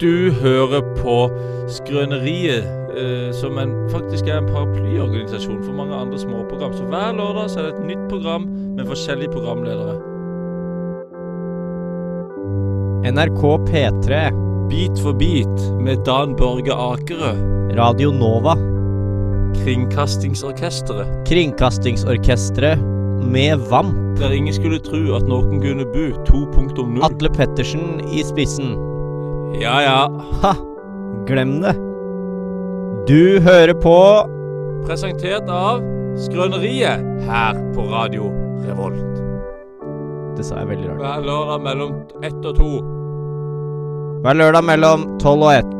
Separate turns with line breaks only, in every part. Du hører på Skrøneriet, eh, som en, faktisk er en paraplyorganisasjon for mange andre småprogram. Så hver lørdag så er det et nytt program med forskjellige programledere.
NRK P3,
Bit for bit med Dan Børge Akerø,
Radio Nova,
Kringkastingsorkesteret.
Kringkastingsorkestret med VAMP,
Der ingen skulle tro at noen kunne bu 2.0.
Atle Pettersen i spissen.
Ja ja.
Ha! Glem det. Du hører på
Presentert av Skrøneriet her på Radio Revolt.
Det sa jeg veldig rart.
Hver lørdag mellom ett og to.
Hver lørdag mellom 12 og 1.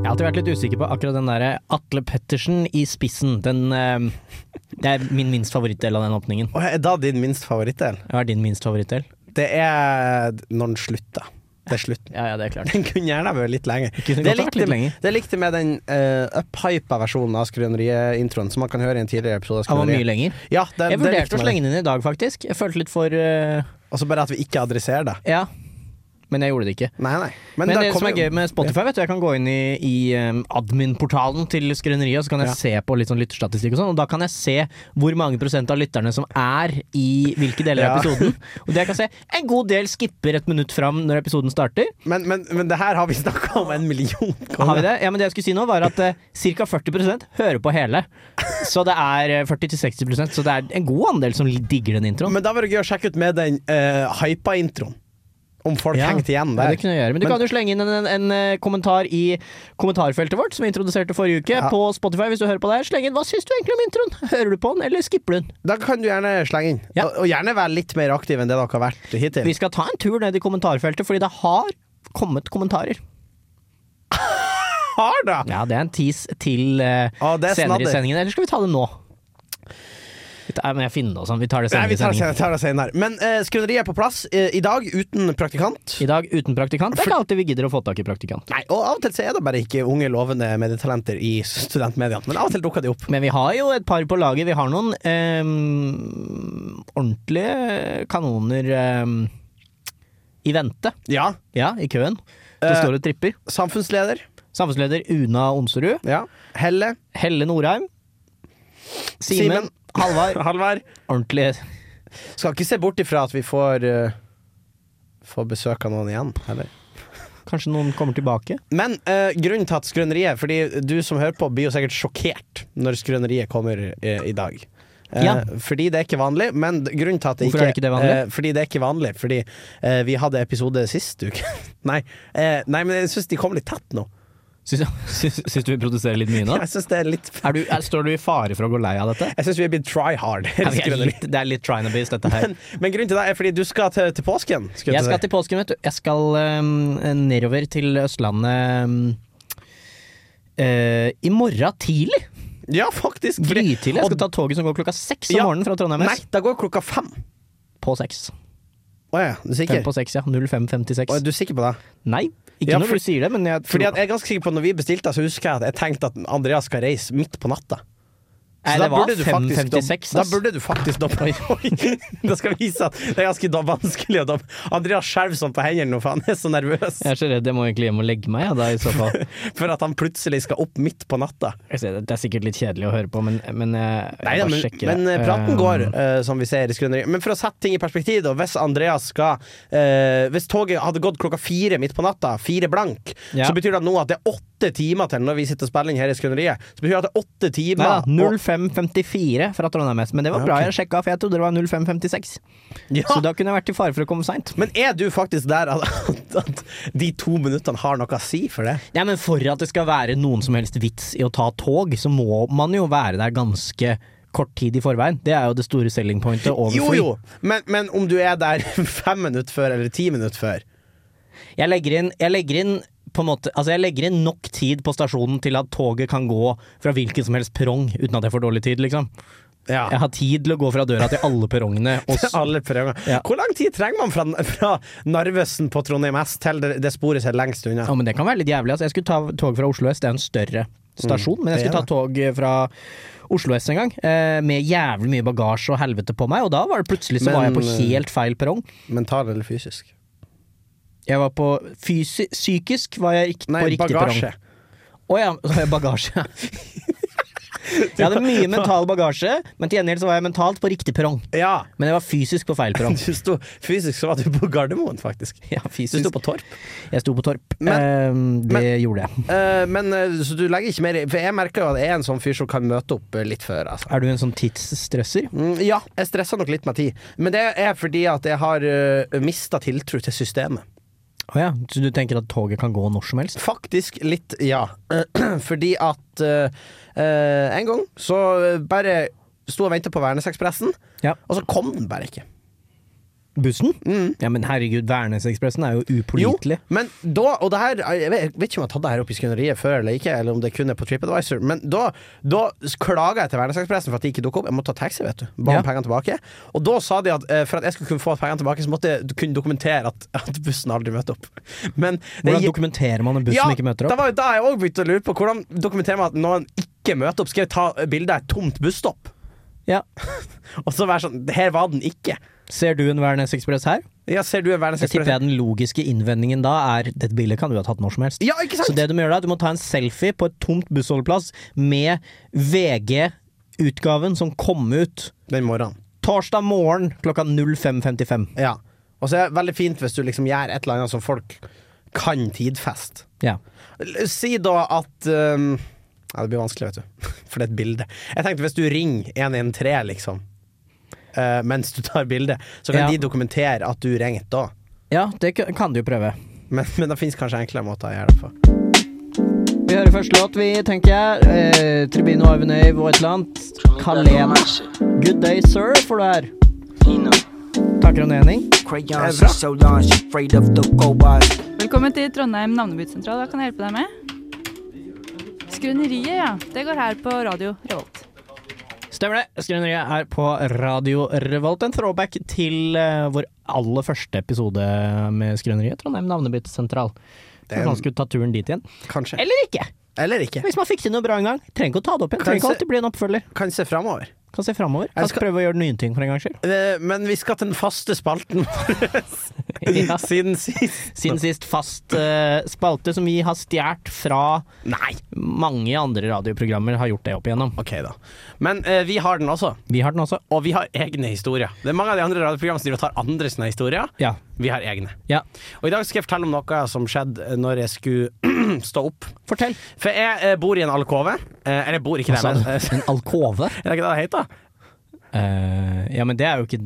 Jeg har alltid vært litt usikker på akkurat den der Atle Pettersen i spissen. Den, eh, det er min minst favorittdel av den åpningen.
Og er da din minst favorittdel?
Hva er din minst favorittdel?
Det er når den slutter. Det er slutten.
Ja, ja, det er klart.
Den kunne gjerne vært litt lenger.
kunne
Det
godt ha vært litt lenger.
det likte jeg med den uh, upphypa versjonen av Skrøneriet-introen, som man kan høre i en tidligere episode. av
Han var mye
Skrøneriet.
lenger.
Ja, Eh,
Jeg
det, det
vurderte
likte
å
man.
slenge den inn i dag, faktisk. Jeg følte litt for eh,
Og så bare at vi ikke adresserer det.
Ja. Men jeg gjorde det ikke.
Nei, nei.
Men,
da
det som
kommer
er gøy
jo-
med Spotify, vet du, jeg kan gå inn i, i um, admin-portalen til Skrøneriet, og så kan jeg
Ja.
se på litt sånn lytterstatistikk og sånn, og da kan jeg se hvor mange prosent av lytterne som er i hvilke deler av
Ja.
episoden. Og det jeg kan se, en god del skipper et minutt fram når episoden starter.
men, men, men det her har vi snakka om en million
Har vi
ganger.
det? Ja, men det jeg skulle si nå, var at uh, ca. 40 hører på hele. Så det er eh, 40-60 så det er en god andel som digger den introen.
Men da var det gøy å sjekke ut med den uh, hypa introen. Om folk
Ja.
hengte
Ja,
igjen der.
det kunne jeg gjøre. Men du
Men-
kan jo slenge inn en, en, en eh, kommentar i kommentarfeltet vårt, som vi introduserte forrige uke,
Ja.
på Spotify. hvis du hører på det her. Sleng inn hva syns du egentlig om introen? Hører du på den, eller skipper du den?
Da kan du gjerne slenge inn.
Ja.
Og, og gjerne være litt mer aktiv enn det dere har vært hittil.
Vi skal ta en tur ned i kommentarfeltet, fordi det har kommet kommentarer.
har da!
Ja, det er en tease til eh,
Å, det er
senere i
snadder.
sendingen. Eller skal vi ta det nå? Vi tar, må jeg finne det og sånn. Vi tar det
Nei,
senere
vi
i
tar,
sendingen.
det- tar det senere. Men uh, skrøneriet er på plass eh, i dag, uten praktikant.
I dag uten praktikant. Det er ikke alltid vi gidder å få tak i praktikant.
Nei, og av og til så er det bare ikke unge, lovende medietalenter i studentmediene. Men av og til dukker de opp.
Men vi har jo et par på laget. Vi har noen ehm, ordentlige kanoner ehm, i vente.
Ja.
Ja, i køen. Det
Eh.
står og tripper.
Samfunnsleder.
Samfunnsleder Una Onserud.
Ja. Helle.
Helle Norheim. Simen.
Simen.
Halvard.
Halvard.
Ordentlig.
Skal ikke se bort ifra at vi får eh, Får besøk av noen igjen, heller.
Kanskje noen kommer tilbake.
Men eh, grunnen til at Skrøneriet Fordi du som hører på, blir jo sikkert sjokkert når Skrøneriet kommer eh, i dag. Eh,
Ja.
Fordi det er ikke vanlig. Men d- grunnen til at det
Hvorfor er det ikke det vanlig?
eh, fordi det er ikke vanlig. Fordi eh, vi hadde episode sist uke. nei, eh, nei, men jeg syns de kom litt tett nå.
Syns, syns, syns du vi produserer litt mye nå?
Jeg syns det er litt
Er du, er, står du i fare for å gå lei av dette?
Jeg syns vi er blitt try hard.
Ja, vi er litt, det er litt trying to beast, dette her.
men, men grunnen til det er fordi du skal til, til påsken. Skulle
Jeg
jeg til å
skal
si.
til påsken, vet du. Jeg skal øhm, nedover til Østlandet øhm, øh, i morgen tidlig.
Ja, faktisk. fordi-
Grytidlig. Jeg
og-
skal ta toget som går klokka seks om
Ja.
morgenen fra Trondheim
Nei,
S.
da går klokka fem.
På seks.
Å ja, du er
Fem
sikker?
på seks, ja.
Å, er
05.56.
du sikker på det?
Nei, ikke
Ja, for-
når du sier det, men jeg
Fordi
tror
at jeg er ganske sikker på at Når vi bestilte, så husker jeg at jeg tenkte at Andreas skal reise midt på natta.
Nei,
Så da
det var
burde du faktisk
5.56.
Da, da
ass.
burde du faktisk doppe. Oi. Det skal vise at det er ganske da, vanskelig å doppe. Andreas skjelver sånn på hendene nå, for han er så nervøs
Jeg er så redd jeg må egentlig hjem og legge meg, ja, da, i så fall.
for at han plutselig skal opp midt på natta.
Jeg ser det det er sikkert litt kjedelig å høre på, men, men jeg, jeg
Nei, ja,
bare
men,
sjekker
men
det.
eh, praten
Eh,
går, eh, som vi ser i Skrøneriet. Men for å sette ting i perspektiv, da. Hvis Andreas skal eh, Hvis toget hadde gått klokka fire midt på natta, fire blank,
Ja.
så betyr det nå at det er åtte timer til når vi sitter og spiller inn her i Skrøneriet. Så betyr det at det er åtte
Nei
timer
da, 05.54 fra Trondheim S, men det var
Ja,
bra
ok.
jeg sjekka, for jeg trodde det var 05.56.
og, ja.
Så da kunne jeg vært i fare for å komme seint.
Men er du faktisk der at, at, at de to minuttene har noe å si for det?
Nei, men For at det skal være noen som helst vits i å ta tog, så må man jo være der ganske kort tid i forveien. Det er jo det store selling pointet over
Jo,
fly.
jo, men, men om du er der fem minutter før eller ti minutter før
Jeg legger inn, jeg legger inn på en måte, altså jeg legger inn nok tid på stasjonen til at toget kan gå fra hvilken som helst perrong uten at jeg får dårlig tid, liksom.
ja.
Jeg har tid til å gå fra døra til alle perrongene. Og s-
Alle prøver.
Ja.
Hvor lang tid trenger man fra, fra Narvesen på Trondheim S til det, det sporet som er lengst unna?
ja, men det kan være litt jævlig. Altså. Jeg skulle ta tog fra Oslo S, det er en større stasjon, men jeg skulle
Ja.
ta tog fra Oslo S en gang, eh, med jævlig mye bagasje og helvete på meg, og da var det plutselig så var jeg
Men, eh,
på helt feil perrong.
Mental eller fysisk?
Jeg var på fysi Psykisk var jeg ikke
Nei,
på riktig perrong.
bagasje.
Å ja, så har jeg bagasje. jeg hadde mye mental bagasje, men til gjengjeld så var jeg mentalt på riktig perrong.
Ja.
Men jeg var fysisk på feil perrong.
Du sto, fysisk så var du på Gardermoen, faktisk.
Ja,
Du
fysisk.
sto på Torp.
Jeg sto på Torp. eh, det
men-
gjorde jeg.
Eh, men eh, Så du legger ikke mer i For jeg merker jo at jeg er en sånn fyr som kan møte opp eh, litt før. Altså.
Er du en sånn tidsstresser?
Mm, ja, jeg stresser nok litt med tid. Men det er fordi at jeg har uh, mista tiltro til systemet.
Å ja, så du tenker at toget kan gå når som helst?
Faktisk litt, ja. Fordi at eh, eh, en gang så bare sto og venta på Værnesekspressen,
Ja.
og så kom den bare ikke.
Bussen?
Mm.
Ja, men herregud, Værnesekspressen er jo
Jo,
upålitelig.
men da, og det her Jeg vet, jeg vet ikke om jeg har tatt det her opp i skrøneriet før eller ikke, eller om det kun er på TripAdvisor, men da, da klaga jeg til Værnesekspressen for at de ikke dukka opp. Jeg måtte ta taxi, vet du. Ba om
Ja.
pengene tilbake. Og da sa de at eh, for at jeg skulle kunne få pengene tilbake, så måtte jeg kunne dokumentere at, at bussen aldri møtte opp. Men det
Hvordan
gi-
dokumenterer man en buss som ikke møter
det
opp?
var jo da jeg òg begynte å lure på hvordan dokumenterer man at noen ikke møter opp. Skal jeg ta bilde av et tomt busstopp,
Ja.
og så være sånn Her var den ikke.
Ser du en Værnesekspress her?
Ja, ser du
Så
en
tipper
verdensekspress?
jeg den logiske innvendingen da er dette bildet kan du ha tatt når som helst.
Ja, ikke sant?
Så det du må gjøre da, du må ta en selfie på et tomt bussholdeplass med VG-utgaven som kom ut
Den morgenen.
torsdag morgen klokka 05.55.
Ja. Og så er det veldig fint hvis du liksom gjør et eller annet som folk kan tidfeste.
Ja.
L- Si da at um, Ja, det blir vanskelig, vet du. For det er et bilde. Jeg tenkte hvis du ringer 113, liksom, eh, mens du tar bilde, så kan
Ja.
de dokumentere at du ringte da.
ja, det kan- kan du jo prøve.
Men, men det fins kanskje enklere måter å gjøre det på.
Vi hører første låt, vi, tenker jeg. Eh, Tribino Arvenøyv og et eller annet. Kalena. Good day, sir, får du her. Takker og nening.
Ezra?
Crayons, she's so long, she's afraid of the cobalt.
Velkommen til Trondheim navnebyttsentral. Hva kan jeg hjelpe deg med? Skrøneriet, ja. Det går her på Radio Revolt.
Stemmer det. Skrøneriet er på Radio Revolt. En throwback til eh, vår aller første episode med Skrøneriet, Trondheim navnebyttesentral.
er-
Kanskje man skulle ta turen dit igjen.
Kanskje.
Eller ikke!
Eller ikke.
Hvis man fikk til noe bra en gang. Trenger ikke å ta det opp igjen. Trenger ikke
Kanskje-
alltid bli en oppfølger.
Kan se framover.
Kan se framover.
Jeg
Kan
skal-
prøve å gjøre nye ting for en gangs skyld.
Eh, Men vi skal til den faste spalten
Ja.
siden sist.
Siden sist fast eh, spalte som vi har stjålet fra
Nei!
mange andre radioprogrammer, har gjort det opp igjennom.
OK, da. Men eh, vi har den også.
Vi har den også.
Og vi har egne historier. Det er Mange av de andre radioprogrammene som driver og tar andres sånne historier.
Ja.
Vi har egne.
ja.
Og i dag skal jeg fortelle om noe som skjedde eh, når jeg skulle stå opp.
Fortell.
For jeg eh, bor i en alkove. Eh, eller jeg bor ikke
Hva sa
der,
du?
men eh,
En alkove?
Er det ikke det det heter?
Eh, ja, men det er jo ikke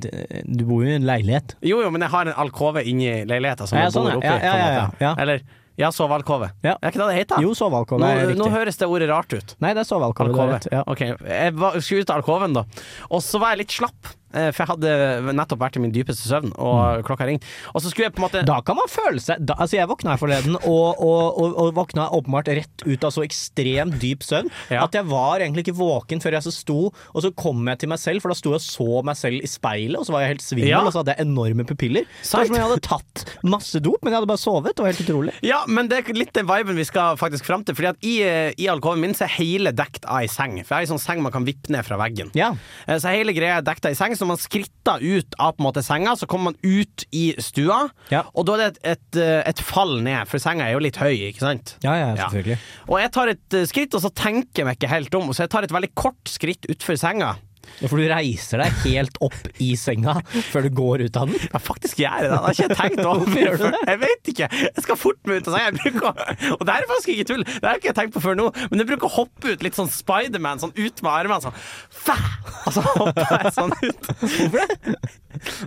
Du bor jo i en leilighet.
Jo, jo, men jeg har en alkove inni leiligheta som
Ja,
jeg
sånn,
bor
ja.
oppi.
Ja, ja,
på en
ja,
måte.
ja.
Eller ja, sovealkove.
Ja.
Er det ikke det det heter?
Jo, sovealkove
Ah, nå,
er riktig.
nå høres det ordet rart ut.
Nei, det er sovealkove. du har
Alkove.
rett, Ja.
Ok, jeg var, skulle ut av alkoven, da. Og så var jeg litt slapp, eh, for jeg hadde nettopp vært i min dypeste søvn,
Mm.
og klokka ringte. Og så skulle jeg på en måte
Da kan man føle seg da, Altså, jeg våkna her forleden, og, og, og, og våkna åpenbart rett ut av så ekstremt dyp søvn
Ja.
at jeg var egentlig ikke våken før jeg så sto, og så kom jeg til meg selv, for da sto jeg og så meg selv i speilet, og så var jeg helt svimmel,
Ja.
og så hadde jeg enorme pupiller. Det var
Sant.
som om jeg hadde tatt masse dop, men jeg hadde bare sovet. Det var helt utrolig.
Ja, men det er litt den viben vi skal faktisk fram til. Fordi at i, eh, i alkoven min så er hele dekt av ei seng. For jeg har ei sånn seng man kan vippe ned fra veggen.
Ja.
Eh, Så hele greia er dekt av ei seng, så når man skritter ut av på en måte senga, så kommer man ut i stua,
Ja.
og da er det et, et, eh, et fall ned, for senga er jo litt høy, ikke sant?
Ja, ja,
Ja.
selvfølgelig.
Og jeg tar et eh, skritt, og så tenker jeg meg ikke helt om, så jeg tar et veldig kort skritt utfor senga.
Ja, for du reiser deg helt opp i senga før du går ut av den.
Ja, faktisk gjør jeg det. Det har ikke jeg tenkt over.
gjør du det?
Jeg vet ikke. Jeg skal fort meg ut av senga. Jeg bruker å- Og det her er faktisk ikke tull. Det har ikke jeg tenkt på før nå. Men jeg bruker å hoppe ut litt sånn Spiderman, sånn ut med armene sånn. Fæ! Og så hopper jeg sånn ut. Hvorfor det?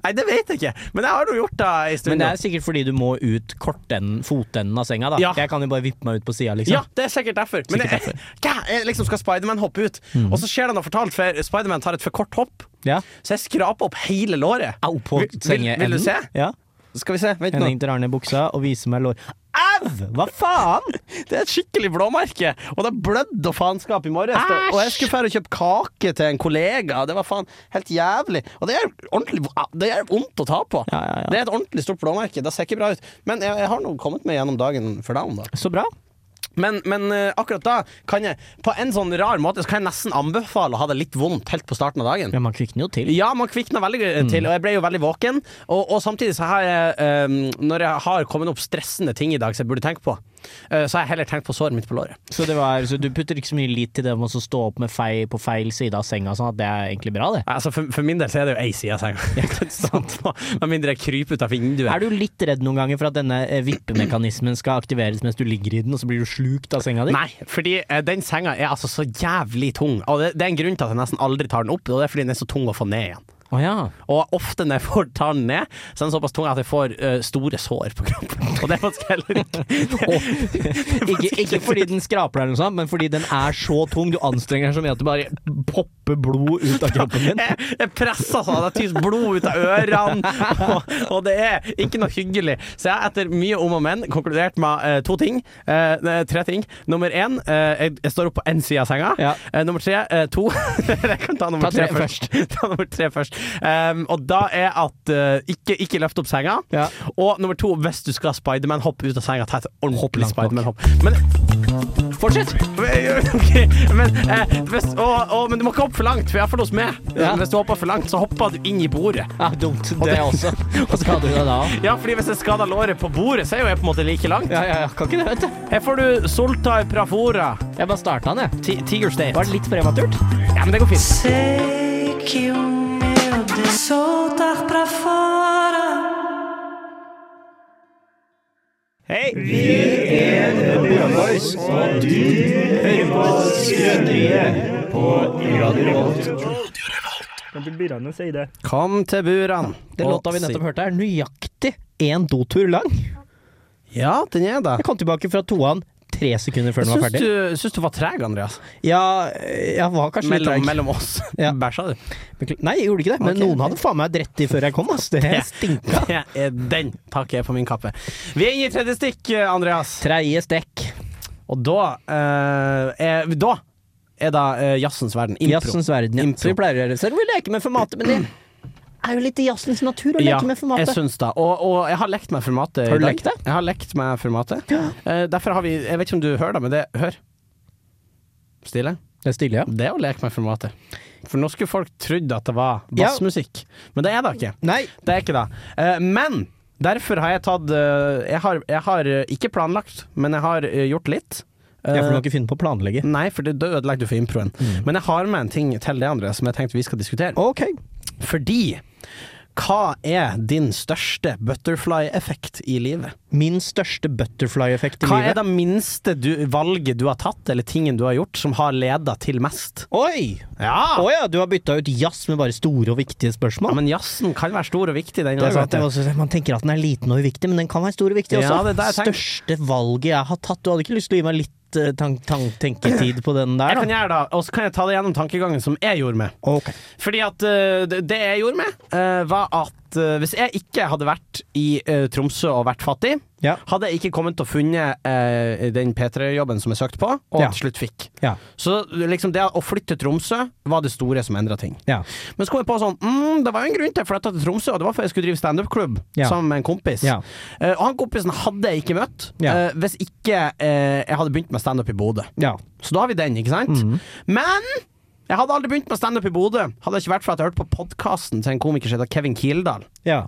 Nei, det vet jeg ikke. Men jeg har nå gjort det en stund.
Men det
nå.
er sikkert fordi du må ut kortenden, fotenden av senga, da.
Ja.
Jeg kan jo bare vippe meg ut på sida,
Ja,
liksom.
det er sikkert derfor. Men
Sikkert Mm.
jeg, Hva? jeg liksom skal Spiderman hoppe ut, og så skjer det noe fortalt, for Spiderman tar et for kort hopp.
Ja.
Så jeg skraper opp hele låret.
Au, på
Vil- vil,
sengeenden.
vil du se?
Ja.
Skal vi se. Vent nå.
Henning drar ned buksa og viser meg lår. Au! Hva faen?
Det er et skikkelig blåmerke, og det blødde og faenskap i morges.
Æsj!
Og jeg skulle fære og kjøpe kake til en kollega, det var faen helt jævlig. Og det er ordentlig Det er vondt å ta på.
Ja, ja, ja.
Det er et ordentlig stort blåmerke, det ser ikke bra ut. Men jeg, jeg har nå kommet meg gjennom dagen for dagen, da.
Så bra.
Men, men eh, akkurat da kan jeg på en sånn rar måte Så kan jeg nesten anbefale å ha det litt vondt helt på starten av dagen.
Ja, man kvikner jo til.
Ja, man kvikna veldig eh, til, og jeg ble jo veldig våken. Og, og samtidig så har jeg, ehm, når jeg har kommet opp stressende ting i dag som jeg burde tenke på, eh, så har jeg heller tenkt på såret mitt på låret.
Så, det var, så du putter ikke så mye lit til det med å stå opp med feil, på feil side av senga, sånn at det er egentlig bra, det.
Nei, Altså, for, for min del så er det jo ei side av senga. Jeg kan ikke stå på, Med mindre jeg kryper ut av vinduet.
Er du litt redd noen ganger for at denne eh, vippemekanismen skal aktiveres mens du ligger i den, og så blir du slukt av senga di?
Nei, fordi eh, den senga er altså så jævlig tung. Og det, det er en grunn til at jeg nesten aldri tar den opp, og det er fordi den er så tung å få ned igjen.
Å ja.
Og ofte når jeg får tar den ned, så er den såpass tung at jeg får eh, store sår på kroppen. Og det er faktisk heller ikke
Ikke, ikke fordi den skraper deg eller noe sånt, men fordi den er så tung. Du anstrenger deg så mye at det bare popper blod ut av kroppen din.
Jeg, jeg presser sånn at det tyser blod ut av ørene, og, og det er ikke noe hyggelig. Så jeg har etter mye om og men konkludert med eh, to ting. eh, nei, tre ting. Nummer én, eh, jeg, jeg står opp på én side av senga.
Ja.
Eh, nummer tre, eh, to Jeg kan ta nummer
Ta tre
tre først. ta nummer tre først. Um, og da er at eh, ikke, ikke løft opp senga.
Ja.
Og nummer to, hvis du skal ha Spiderman, hopp ut av senga. Ta et
Hopp
ordentlig
langt bak.
Spiderman-hopp. Men
Fortsett!
Ok, men, eh, hvis, å, å, men du må ikke hoppe for langt, for jeg har fått oss med.
Ja.
Hvis du hopper for langt, så hopper du inn i bordet.
Ja, dumt. Det også. Og skader du deg da?
Ja, fordi hvis jeg skader låret på bordet, så er jo jeg på en måte like langt.
Ja, ja, ja. Kan ikke det, vet du.
Her får du Soltai Prafora,
Jeg bare starta den, jeg.
Ti- Tiger State.
Var det litt prematurt?
Ja, men det går fint.
Sei que o meu Deus soltar pra fora.
Hei! Kom til buran.
Den låta vi nettopp hørte er nøyaktig én dotur lang.
Ja, den er det.
Jeg kom tilbake fra toan tre sekunder før den var
Syns
ferdig.
du, syns du var treg, Andreas?
Ja, jeg var kanskje litt
Mellom,
treg.
mellom oss.
Ja.
Bæsja du?
Bekl- Nei, jeg gjorde ikke det, men
Ok.
noen hadde faen meg drett i før jeg kom, ass. Det stinka.
Det er den takker jeg på min kappe. Vi er inne i tredje stikk, Andreas.
Tredje stekk.
Og da eh, er, Da er da eh, jazzens verden. Impro.
Jazzens verden. Ja.
Impro.
Så vi pleier å gjøre det. Selv om vi leker med formatet, men det er jo litt i jazzens natur å leke
Ja,
med
jeg
formatet.
syns det. Og, og jeg har lekt meg formatet. i
Har du
dag.
lekt det?
Jeg har lekt meg formatet. Eh, derfor har vi Jeg vet ikke om du hører det, men det Hør. Stille.
Det er stille, ja.
Det er å leke meg formatet. For nå skulle folk trodd at det var bassmusikk, men det er det ikke.
Nei.
Det er ikke det. Eh, men derfor har jeg tatt eh, jeg, har, jeg har eh, ikke planlagt, men jeg har eh, gjort litt.
Jeg får
Eh,
nok ikke finne på å planlegge.
Nei, for det da ødelegger du for improen. Men jeg har med en ting til det andre som jeg tenkte vi skal diskutere.
Ok.
Fordi hva er din største butterfly-effekt i livet?
Min største butterfly-effekt i
Hva er
livet.
det minste du, valget du har tatt, eller tingen du har gjort, som har leda til mest?
Oi! Å
Ja!
ja, du har bytta ut jazz med bare store og viktige spørsmål.
Men jazzen kan være stor og viktig, den.
Det er
altså.
sant, det er også, man tenker at den er liten og uviktig, men den kan være stor og viktig
Ja,
også.
det er det jeg tenker.
Største valget jeg har tatt. Du hadde ikke lyst til å gi meg litt eh, tank, tank, tenketid på den
Jeg
der?
kan
Da.
gjøre det, og så kan jeg ta det gjennom tankegangen som jeg gjorde med.
Ok.
Fordi at eh, det det jeg gjorde med, eh, var at eh, hvis jeg ikke hadde vært i eh, Tromsø og vært fattig,
Ja.
hadde jeg ikke kommet til å funnet eh, den P3-jobben som jeg søkte på, og
Ja.
til slutt fikk.
Ja.
Så liksom det å flytte til Tromsø var det store som endra ting.
Ja.
Men så kom jeg på sånn mm, Det var jo en grunn til jeg flytta til Tromsø, og det var for jeg skulle drive standup-klubb
Ja.
sammen med en kompis.
Ja.
Eh, og han kompisen hadde jeg ikke møtt
Ja.
eh, hvis ikke eh, jeg hadde begynt med standup i Bodø.
ja.
Så da har vi den, ikke sant?
Mhm.
Men jeg hadde aldri begynt med standup i Bodø, hadde det ikke vært for at jeg hørte på podkasten til en komiker som heter Kevin Kildahl.
ja.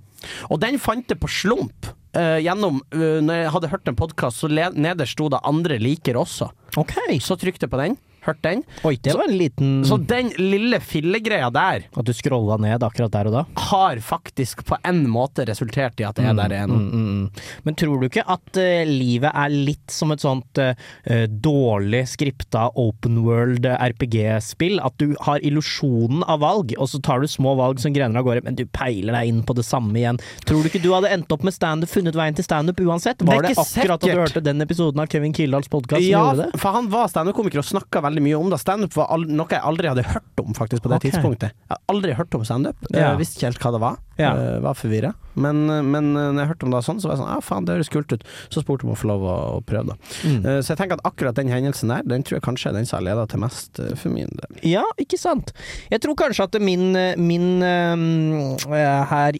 Og den fant jeg på slump. eh, gjennom, eh, når jeg hadde hørt en podkast, så le- nederst sto det 'Andre liker også'.
Ok.
Så trykte jeg på den, hørte den.
Oi, det var en liten
Så den lille fillegreia der
At du scrolla ned akkurat der og da.
har faktisk på en måte resultert i at jeg er der jeg er nå.
Mm, mm. Men tror du ikke at eh, livet er litt som et sånt eh, eh, dårlig skripta open world eh, RPG-spill? At du har illusjonen av valg, og så tar du små valg som grener av gårde, men du peiler deg inn på det samme igjen. Tror du ikke du hadde endt opp med standup, funnet veien til standup uansett? Var
Det
det,
er ikke
akkurat da du
sikkert.
hørte den episoden av Kevin Kildahls podkast som
Ja,
gjorde det?
for han var standup-komiker og snakka veldig mye om det. Standup var al noe jeg aldri hadde hørt om faktisk på det
Ok.
tidspunktet. Jeg har aldri hørt om standup.
Ja.
Jeg visste ikke helt hva det var.
Ja.
Eh, var forvirra. Men, men eh, når jeg hørte om det sånn, så var jeg sånn Ja, faen, det høres kult ut. Så spurte jeg om å få lov å, å prøve, da.
Mm.
Eh, så jeg tenker at akkurat den hendelsen der, den tror jeg kanskje er den som har leda til mest eh, for min del.
Ja, ikke sant. Jeg tror kanskje at min, min øhm, øh, Her i,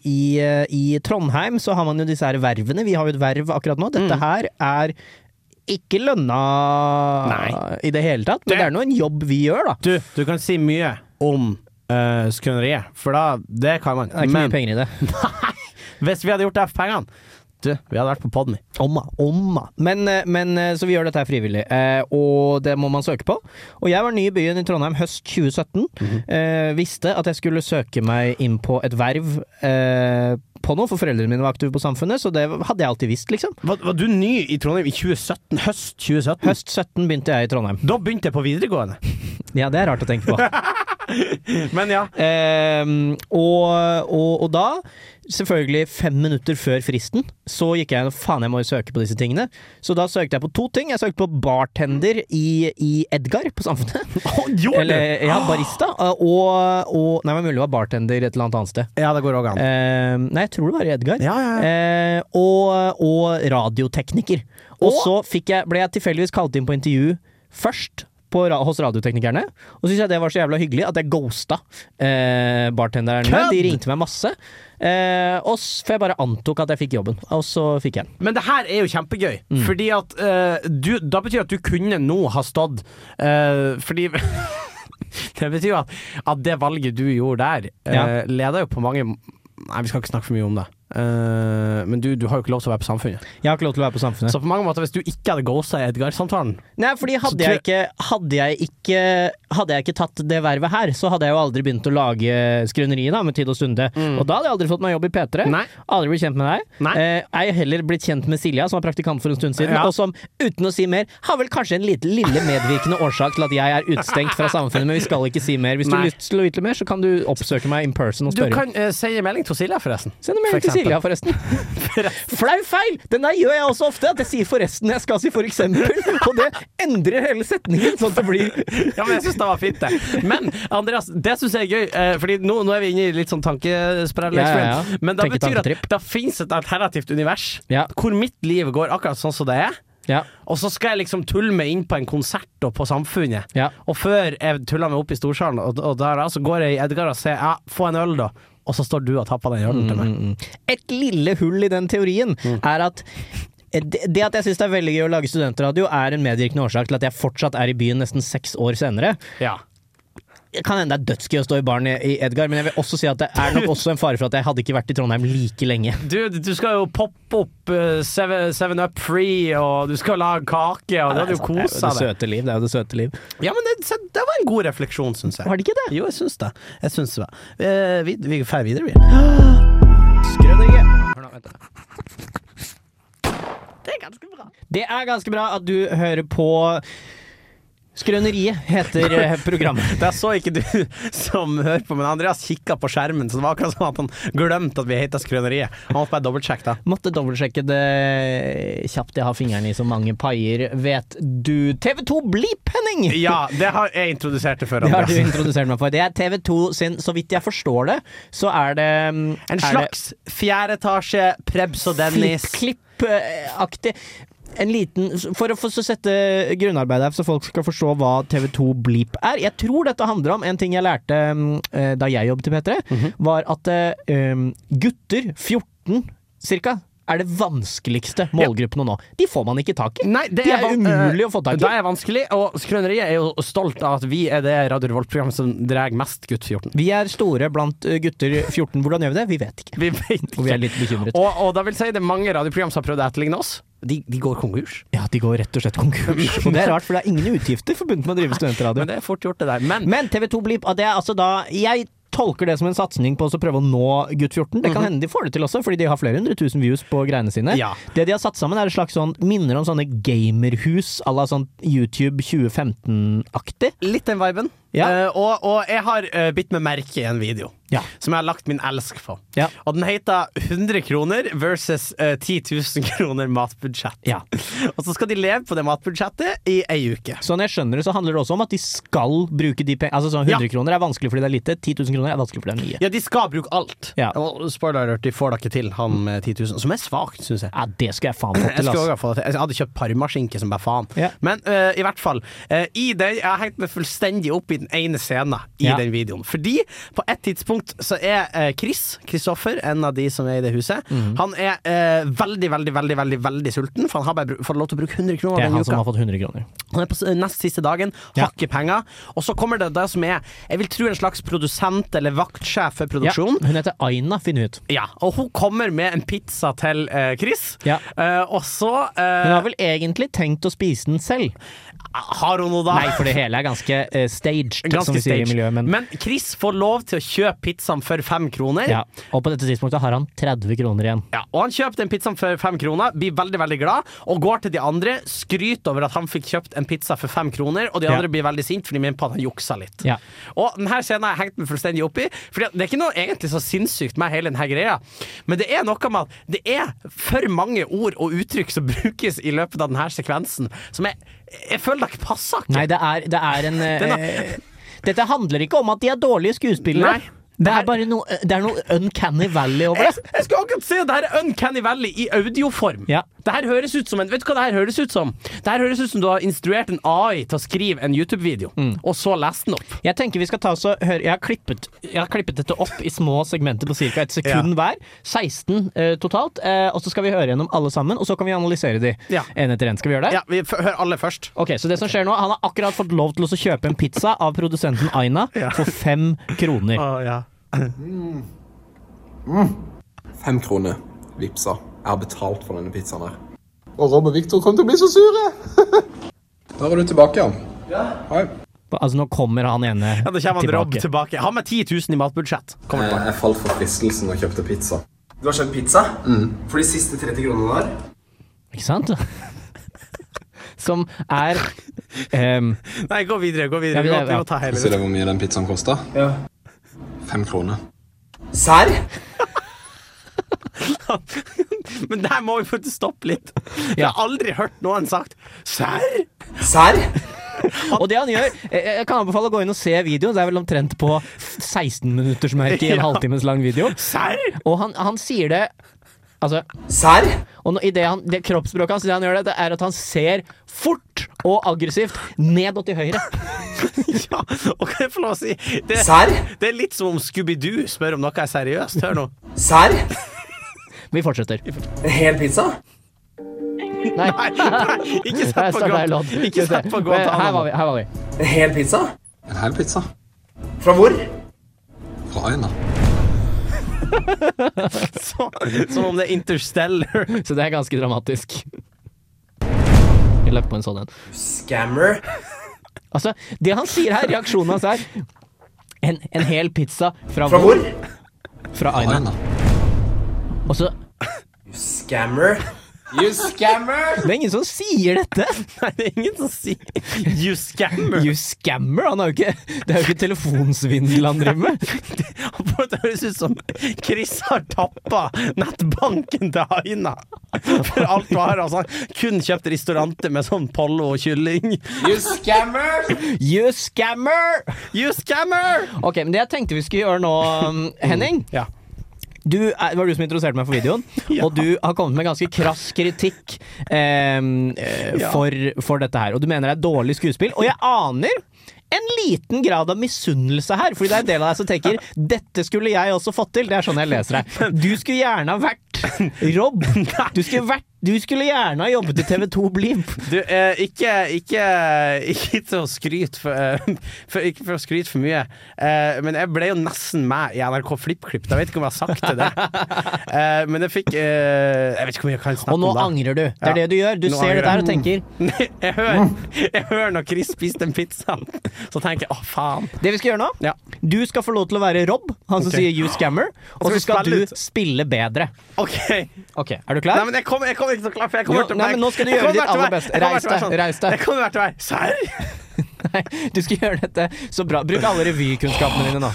øh,
Mm.
i Trondheim så har man jo disse her vervene. Vi har jo et verv akkurat nå. Dette her er ikke lønna
Nei.
i det hele tatt, men
Det-
det er nå en jobb vi gjør, da.
Du, du kan si mye om uh, skrøneriet, for da Det kan man.
Det er ikke
Men
mye penger i det.
hvis vi hadde gjort det for pengene Du, vi hadde vært på Podme.
Omma, omma. Men, eh, men eh, så vi gjør dette her frivillig, eh, og det må man søke på. Og jeg var ny i byen i Trondheim høst 2017. eh, visste at jeg skulle søke meg inn på et verv eh, på noe, for foreldrene mine var aktive på Samfunnet, så det hadde jeg alltid visst, liksom.
Var, var du ny i Trondheim i 2017? Høst 2017?
Høst 17 begynte jeg i Trondheim.
Da begynte jeg på videregående.
Ja, det er rart å tenke på.
Men ja.
Ehm, og, og, og da, selvfølgelig fem minutter før fristen, så gikk jeg faen, jeg må jo søke på disse tingene. Så da søkte jeg på to ting. Jeg søkte på bartender i, i Edgar på Samfunnet.
gjorde
Eller ja,
Ah.
barista. Eh, Og, og Nei, det var mulig det var bartender et eller annet annet sted.
Ah. Ja, det går òg an.
Ehm, nei, jeg tror det var i Edgar.
Ja, ja, ja.
Eh, og, og radiotekniker. Og
Og-
så fikk jeg, ble jeg tilfeldigvis kalt inn på intervju først. På, ra- hos radioteknikerne. Og så syntes jeg det var så jævla hyggelig at jeg ghosta eh, bartenderne.
Kødd!
De ringte meg masse. Eh, og s- for jeg bare antok at jeg fikk jobben. Og så fikk jeg den.
Men det her er jo kjempegøy, fordi at eh, du Da betyr det at du kunne nå ha stått eh, Fordi Det betyr jo at, at det valget du gjorde der, uh,
Ja.
leda jo på mange Nei, vi skal ikke snakke for mye om det. Eh, men du, du har jo ikke lov til å være på Samfunnet.
Jeg har ikke lov til å være på Samfunnet.
Så på mange måter, hvis du ikke hadde ghosta i Edgar-samtalen
Nei, fordi hadde
Så
jeg, ikke, hadde, jeg ikke, hadde jeg ikke tatt det vervet her, så hadde jeg jo aldri begynt å lage skrøneriet da, med tid og stunde. Og da hadde jeg aldri fått meg jobb i P3.
Mm. Nei.
Aldri blitt kjent med deg.
Nei.
Eh, jeg har heller blitt kjent med Silja, som var praktikant for en stund siden,
Ja.
og som, uten å si mer, har vel kanskje en lite, lille medvirkende årsak til at jeg er utestengt fra samfunnet, men vi skal ikke si mer. Hvis du
Nei.
har lyst til å vite mer, så kan du oppsøke meg in person og
Du
spørre.
kan eh, sende melding til Silja, forresten.
Send en melding
For
til Silja, forresten. Flau feil! Den der gjør jeg også ofte, at jeg sier 'forresten' jeg skal si 'for eksempel', og det endrer hele setningen, sånn at det blir
Ja, men jeg syns det var fint, det. Men Andreas, det syns jeg er gøy, eh, Fordi nå, nå er vi inne i litt sånn tankesprell.
Ja, ja, ja.
Men da
Tenke
betyr det
tanketripp.
at det fins et alternativt univers
Ja.
hvor mitt liv går akkurat sånn som det er.
Ja.
Og så skal jeg liksom tulle meg inn på en konsert og på Samfunnet.
Ja.
Og før jeg tuller meg opp i storsalen, og, og der da, så går jeg i Edgar og sier ja, få en øl, da. Og så står du og tapper den ølen til
Mm,
meg.
Et lille hull i den teorien er at eh, det det at jeg syns det er veldig gøy å lage studentradio, er en medvirkende årsak til at jeg fortsatt er i byen nesten seks år senere.
Ja.
Det kan hende det er dødsgøy å stå i baren i i Edgar, men jeg vil også si at det er nok også en fare for at jeg hadde ikke vært i Trondheim like lenge.
Du, du skal jo poppe opp eh, Seven, seven Up Free, og du skal lage kake, og du hadde jo kosa
det
deg.
søte liv. Det er jo det søte liv.
Ja, men det, så det var en god refleksjon, syns jeg.
Var det ikke det?
Jo, jeg syns det. Jeg syns det. Eh, vi vi drar videre, vi. Skrøneriet. Hør nå, vent da.
Det er ganske bra at du hører på Skrøneriet heter eh, programmet.
Der så ikke du som hører på, men Andreas kikka på skjermen, så det var akkurat som at han glemte at vi heter Skrøneriet. Han måtte bare dobbeltsjekke det.
Måtte dobbeltsjekke det eh, kjapt. Jeg har fingrene i så mange paier, vet du. TV2 Bleep, Henning!
Ja, det har jeg introdusert det før,
Det har du
Andreas.
introdusert meg for. Det er TV2 sin, så vidt jeg forstår det, så er det mm,
En
er det
slags fjerde etasje, Prebz og Dennis.
Flipp-klipp-aktig. En liten, for å få- så sette grunnarbeidet her, så folk skal forstå hva TV2 Bleep er. Jeg tror dette handler om en ting jeg lærte mm, eh, da jeg jobbet i P3,
Mhm.
var at eh, um, gutter, 14 cirka, er det vanskeligste målgruppen å nå. De får man ikke tak i.
Nei, det eh,
De er
van-
umulig å få tak i.
Det er vanskelig, og Skrøneriet er jo stolt av at vi er det Radio Revolt-programmet som drar mest gutt 14.
Vi er store blant eh, gutter 14. Hvordan gjør vi det? Vi vet ikke.
Vi vet ikke.
Og vi er litt bekymret.
Og, og da vil si det er mange radioprogram som har prøvd å etterligne oss. De, de går konkurs.
Ja, de går rett og slett konkurs. Og det er rart, for det er ingen utgifter forbundet med å drive studentradio.
Men det er fort gjort, det der. Men,
Men TV2 Blipp, og det er altså da Jeg tolker det som en satsing på å så prøve å nå gutt 14. Det kan hende de får det til også, fordi de har flere hundre tusen views på greiene sine.
Mhm. Ja.
Det de har satt sammen, er et slags sånn minner om sånne gamerhus à la sånn YouTube 2015-aktig.
litt den viben.
Ja.
Eh, og, og jeg har eh, bitt meg merke i en video
Ja.
som jeg har lagt min elsk på.
Ja.
Og den heter 100 kroner versus eh, 10 000 kroner matbudsjett.
Ja.
Og så skal de leve på det matbudsjettet i ei uke.
Så når jeg skjønner det, så handler det også om at de skal bruke de pengene. Altså sånn 100
Ja.
kroner er vanskelig fordi det er lite, 10 000 kroner er vanskelig fordi det er mye.
Ja, de skal bruke alt.
Ja.
Og spoiler alert, de får det ikke til, han med 10 000. Som er svakt, syns jeg.
Ja, det skal jeg faen få
Jeg
til,
skulle
ass.
også ha fått det til. Jeg hadde kjøpt parmaskinke som bare faen.
Ja.
Men øh, i hvert fall. øh, i den, jeg har hengt meg fullstendig opp i den ene scenen i
Ja.
den videoen. Fordi på et tidspunkt tidspunkt så er eh, Chris, Kristoffer, en av de som er i det huset,
Mhm.
han er eh, veldig, veldig, veldig veldig, veldig sulten, for han har bare bru- fått lov til å bruke 100 kroner
Det er
denne
han som
uka.
har fått 100 kroner.
Han er på s- nest siste dagen,
Ja.
har ikke penger. Og så kommer det det som er, jeg vil tro en slags produsent eller vaktsjef for
Ja,
produksjonen.
hun heter Aina, finn ut.
Ja, og hun kommer med en pizza til eh, Chris,
Ja.
Eh, og så
Hun
eh,
har vel egentlig tenkt å spise den selv.
Ah, har hun noe da.
Nei, for det hele er ganske eh, staged, som
Ganske
vi sier i
staged.
miljøet. Men,
Men Chris får lov til å kjøpe pizzaen for fem kroner.
ja. Og på dette tidspunktet har han 30 kroner igjen.
Ja, og han kjøper den pizzaen for fem kroner, blir veldig veldig glad, og går til de andre, skryter over at han fikk kjøpt en pizza for fem kroner, og de
Ja.
andre blir veldig sint for de mener på at han juksa litt.
Ja.
Og denne scenen har jeg hengt meg fullstendig opp i, for det er ikke noe egentlig så sinnssykt med hele denne greia, men det er noe med at det er for mange ord og uttrykk som brukes i løpet av denne sekvensen, som jeg, jeg føler det ikke passer. ikke.
Nei, det er, det er en eh, Dette handler ikke om at de er dårlige skuespillere.
Nei.
Det er bare noe, det er noe uncanny valley over
Jeg,
det.
jeg skulle akkurat si at det her er Uncanny Valley i audioform.
Ja.
Det her høres ut som en, Vet du hva det her høres ut som? Det her høres ut som du har instruert en AI til å skrive en YouTube-video, og så lest den opp.
Jeg tenker vi skal ta oss og høre Jeg har klippet, jeg har klippet dette opp i små segmenter på ca. et sekund hver. 16 eh, totalt. eh, og så skal vi høre gjennom alle sammen, og så kan vi analysere de
Ja.
en etter en. Skal vi gjøre det?
Ja, vi f Hør alle først.
Ok, så det som skjer nå Han har akkurat fått lov til å kjøpe en pizza av produsenten Aina for fem kroner.
Fem kroner vipsa er betalt for denne pizzaen her.
Og Rob og Victor kom til å bli så sure!
Der er du tilbake igjen. Hei.
Altså Nå kommer han ene
Ja, da kommer han Rob
tilbake.
tilbake. Han med 10 000 i matbudsjett. Kommer
Eh,
Jeg,
tilbake.
jeg falt for fristelsen og kjøpte pizza.
Du har kjøpt pizza? For de siste 30 kronene der?
Ikke sant? Som er ehm,
Nei, gå videre. gå videre
Ja, vi-
Vi må- Vi
ja.
må ta hele
Ser du hvor mye den pizzaen koster? Ja. Fem kroner.
Serr?
Men der må vi faktisk stoppe litt. Jeg
Ja.
har aldri hørt noen sagt 'serr'?
Serr?
Og det han gjør eh, Jeg kan anbefale å gå inn og se videoen. Det er vel omtrent på 16-minuttersmerket i en
Ja.
halvtimes lang video.
Serr?
Og han, han sier det Altså
Serr?
Og nå- i det, han, det kroppsspråket hans, det han gjør det, det er at han ser fort og aggressivt ned og til høyre.
Ja, og kan jeg få lov å si det,
Serr?
det er litt som om Scooby-Doo spør om noe er seriøst. Hør nå.
Serr?
Vi fortsetter.
En hel pizza?
Nei,
Nei, ikke
Her
sett
står
på
det en
godt.
låt.
Ikke sett på godt
Her var vi. Her var vi.
En hel pizza?
En hel pizza
Fra hvor?
fra Aina.
Så, som om det er interstellar.
Så det er ganske dramatisk. Jeg lagt på en sånn en.
Scammer?
Altså, det han sier her, reaksjonen hans er en, en hel pizza fra,
Fra hvor?
Fra
Fra
Aina.
Aina.
Og så
Scammer? You scammer?
Det er ingen som sier dette!
Nei, det er ingen som sier You scammer.
You scammer! Han har jo ikke, det er jo ikke telefonsvindel han driver med.
For Det høres ut som Chris har tappa nettbanken til Aina for alt hva har. Altså, han kun kjøpt restauranter med sånn pollo og kylling.
You scammer?
You scammer!
You scammer!
Ok, men det jeg tenkte vi skulle gjøre nå, um, Henning
Mm. Ja.
du, er- Det var du som introduserte meg for videoen,
Ja.
og du har kommet med ganske krass kritikk em, eh,
Ja.
for, for dette her. Og du mener det er dårlig skuespill. Og jeg aner en liten grad av misunnelse her, fordi det er en del av deg som tenker 'dette skulle jeg også fått til'. Det er sånn jeg leser deg. Du skulle gjerne ha vært Rob. Du skulle, vært, du skulle gjerne ha jobbet i TV2 Bliv.
Du, eh, ikke, ikke, ikke til å skryte for, eh, for, Ikke for å skryte for mye, eh, men jeg ble jo nesten med i NRK FlippKlipp. Jeg vet ikke om jeg har sagt til det. Eh, men jeg fikk eh, Jeg vet ikke hvor mye jeg kan snakke
Og nå
om da.
angrer du. Det er
Ja.
det du gjør. Du
Nå
ser
angrer
dette her
jeg.
og tenker
jeg, hører, jeg hører når Chris spiste den pizzaen, så tenker jeg å, faen.
Det vi skal gjøre nå
Ja.
Du skal få lov til å være Rob, han som
Ok.
sier You Scammer, og
Skal vi
så skal
spille
du
ut?
spille bedre.
OK.
Ok, Er du
Nei,
klar?
men jeg kommer, jeg kommer ikke til å klare, for jeg
Jo,
kommer til å
nei, men nå skal du gjøre ditt aller beste. Reis deg, reis deg.
sånn- Jeg kommer hvert vei. Serr?
Nei, du skal gjøre dette så bra. Bruk alle revykunnskapene dine nå.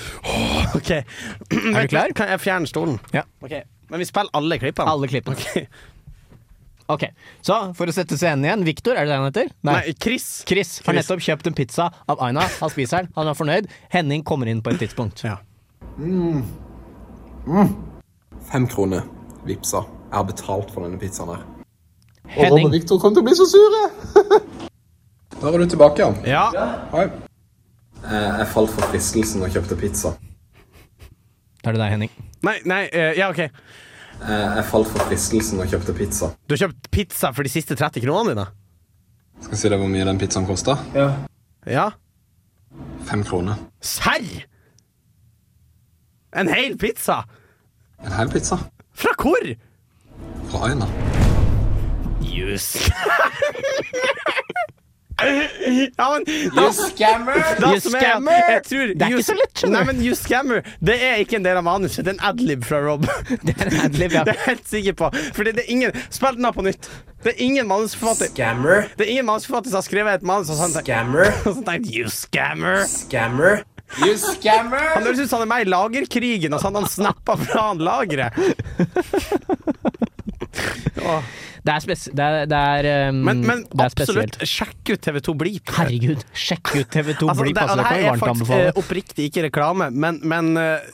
OK.
Er du klar?
Kan jeg fjerne stolen?
Ja.
Ok. Men vi spiller alle klippene.
Alle klippene.
Ok.
Ok, Så for å sette scenen igjen. Victor, er det det han heter?
Nei, Chris.
Chris har
Chris.
nettopp kjøpt en pizza av Aina. Han spiser den, han er fornøyd. Henning kommer inn på et tidspunkt.
Ja.
Fem kroner vipsa er betalt for denne pizzaen her.
Og Rob og
Henning,
Victor kom til å bli så sure!
Der er du tilbake igjen.
ja.
Hei. Jeg, jeg falt for fristelsen og kjøpte pizza
Da er det deg, Henning.
Nei, nei, eh, ja, OK.
Eh, Jeg falt for fristelsen og kjøpte pizza.
Du har kjøpt pizza for de siste 30 kronene dine?
Skal jeg si deg hvor mye den pizzaen kosta?
Ja.
Ja.
Fem kroner.
Serr? En hel pizza?
En hel pizza
Fra hvor?
fra Aina.
Just. ja, men
You scammer!
da
You
som er-
scammer!
Jeg tror,
Det er
you-
ikke så lett, skjønner
Nei,
du.
men You scammer Det er ikke en del av manuset. Det er en adlib fra Rob.
Det er en adlib, ja.
Det er jeg helt sikker på. Fordi det er ingen Spill den av på nytt. Det er ingen manusforfatter
Scammer.
Det er ingen manusforfatter som har skrevet et manus og sånn tenkt-
Scammer.
og sånn tenkt You scammer!
Scammer. You
Han
scammer!
høres ut som han er med i Lagerkrigen, og sånn han snappa fra han lageret. Åh.
Det er, spes det er, det er, um,
Men, men
det er spesielt.
absolutt, sjekk ut TV2 Blip.
Herregud, sjekk ut TV2
Altså,
Bli
det, og
passer
det
deg
her
kan vi
er
varmt
faktisk eh,
anbefale.
oppriktig ikke reklame, men, men eh,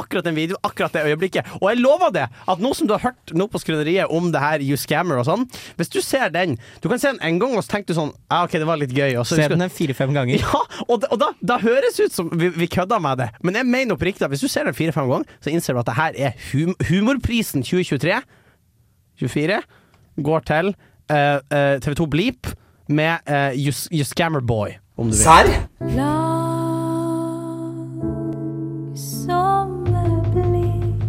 akkurat den videoen, akkurat det øyeblikket. Og jeg lover det, at nå som du har hørt nå på Skrøneriet om det her You Scammer og sånn, hvis du ser den Du kan se den en gang, og så tenker du sånn Ja, OK, det var litt gøy. Og så
Se
husker du-
den fire-fem ganger.
ja, og, da, og da, da høres ut som vi, vi kødda med det, men jeg mener oppriktig at hvis du ser den fire-fem ganger, så innser du at det her er hum Humorprisen 2023 24 går til eh, eh, TV2 Bleep med eh, you, S- you Scammer Boy, om du vil.
Serr?
Lag som det blir.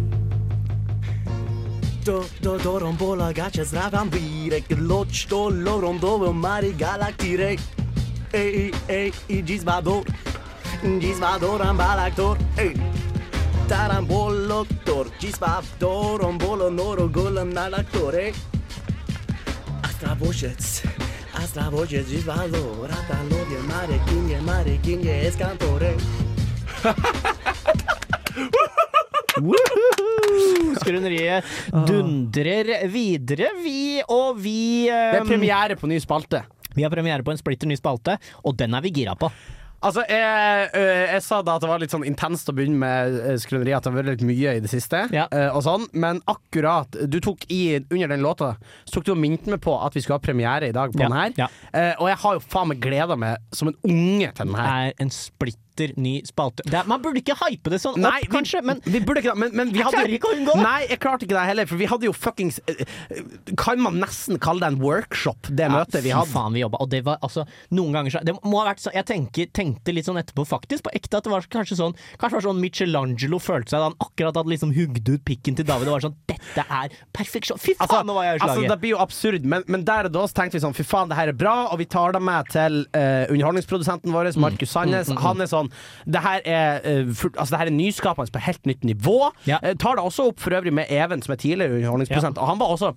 Skrøneriet dundrer videre, vi, og vi
Det
eh,
er premiere på ny spalte.
Vi har premiere på en splitter ny spalte, og den er vi gira på.
Altså, jeg, øh, jeg sa da at det var litt sånn intenst å begynne med øh, skrøneri, at det har vært litt mye i det siste,
Ja.
øh, og sånn, men akkurat Du tok i Under den låta Så tok du og minte meg på at vi skulle ha premiere i dag på
Ja,
den her,
ja.
Eh, og jeg har jo faen meg gleda meg som en unge til den her.
Er en splitter ny spalte. Det er, man burde ikke hype det sånn
Nei,
opp, kanskje, men
vi burde ikke det. Men, men vi
Jeg
hadde
klarer ikke å unngå det.
Nei, jeg klarte ikke det heller, for vi hadde jo fuckings eh, eh, Kan man nesten kalle det en workshop, det møtet vi
fy
hadde?
faen, vi jobba. Og det var altså Noen ganger så Det må ha vært sånn Jeg tenker, tenkte litt sånn etterpå, faktisk, på ekte, at det var kanskje sånn Kanskje det var sånn Michelangelo følte seg da han akkurat hadde liksom hugd ut pikken til David og var sånn Dette er perfeksjon! Fy faen, nå var jeg i
altså,
slaget!
det blir jo absurd, men, men der og da så tenkte vi sånn fy faen, det her er bra, og vi tar det med til eh, underholdningsprodusenten vår,
Mm.
Markus Sandnes. Han er sånn Det her er, eh, full- altså, det her er nyskapende på helt nytt nivå.
Ja.
Eh, tar det også opp for øvrig med Even, som er tidligere underholdningsprodusent, og han var også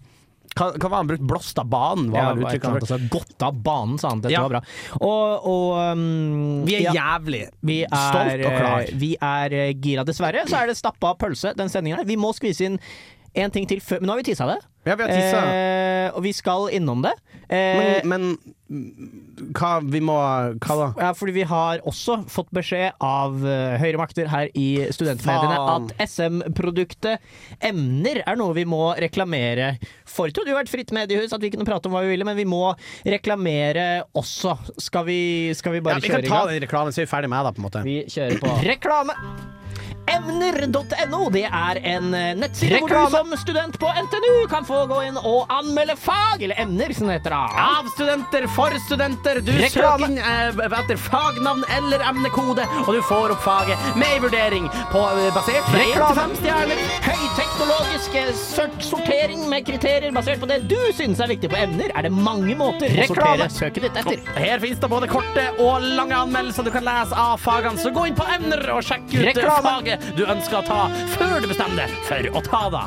hva, hva var han brukt? Blåst av banen, var
Ja,
vel uttrykket han
uttrykket
brukte.
altså, Godt av banen, sa han. Dette
Ja.
var bra. Og, og um,
Vi er
ja.
jævlig
Vi er,
stolt og klar.
eh, Vi er eh, gira, dessverre. Så er det stappa av pølse, den sendinga her. Vi må skvise inn en ting til før Men nå har vi tissa det.
Ja, vi har tissa.
Eh, og vi skal innom det. Eh,
Men, men mm, hva vi må Hva da?
ja, fordi vi har også fått beskjed av eh, høyere makter her i studentmediene
Faen.
at SM-produktet emner er noe vi må reklamere for. Det hadde jo vært fritt mediehus, at vi kunne prate om hva vi ville, men vi må reklamere også. Skal vi, skal vi
Ja,
bare
vi
kjøre
kan
i
ta
gang?
den reklamen, så er vi ferdig med det, på en måte.
Vi kjører på reklame! Emner.no det er en eh, nettside hvor du som student på NTNU kan få gå inn og anmelde fag, eller emner, som det heter. da.
Av studenter, for studenter. Du
Reklame.
søker inn eh, etter fagnavn eller emnekode, og du får opp faget med en vurdering på, eh, basert på én
Reklame.
til fem stjerner.
Høyteknologisk eh, sort- sortering med kriterier basert på det du syns er viktig på emner, er det mange måter å sortere
Reklame.
søket ditt etter.
Her fins det både korte og lange anmeldelser du kan lese av fagene, så gå inn på emner og sjekk ut eh,
Reklame.
faget du ønsker å ta, før du bestemmer deg for å ta det.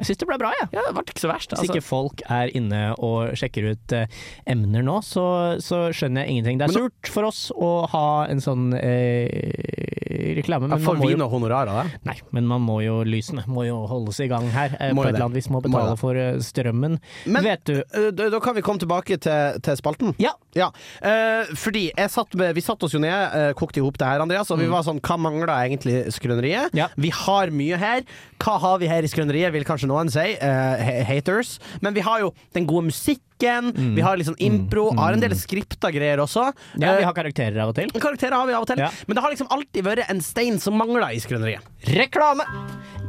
Jeg syns det ble bra, jeg.
Ja, det ble ikke så verst. altså.
Hvis ikke folk er inne og sjekker ut eh, emner nå, så, så skjønner jeg ingenting. Det er
Men nå-
surt for oss å ha en sånn eh, reklame, men man, må jo,
noe honorar av det?
nei, men man må jo lysene må jo holdes i gang her. Eh,
Må
på et
jo det.
eller annet vis må
Må jo
betale
det.
for eh, strømmen.
Men-
Vet du
Eh, Da, da kan vi komme tilbake til, til spalten.
Ja,
Ja, eh, fordi jeg satt med, vi satt oss jo ned, eh, kokte i hop det her, Andreas, og vi var sånn Hva mangler egentlig Skrøneriet?
Mm. Ja.
Vi har mye her. Hva har vi her i Skrøneriet, vil kanskje noen si. eh, ha- haters. Men vi har jo den gode musikken. musikken, vi har liksom impro, har en del skripta greier også.
Mm. Ja, vi
Eh,
har karakterer av og til.
Karakterer har vi av og til,
Ja.
men det har liksom alltid vært en stein som mangler i skrøneriet.
Reklame!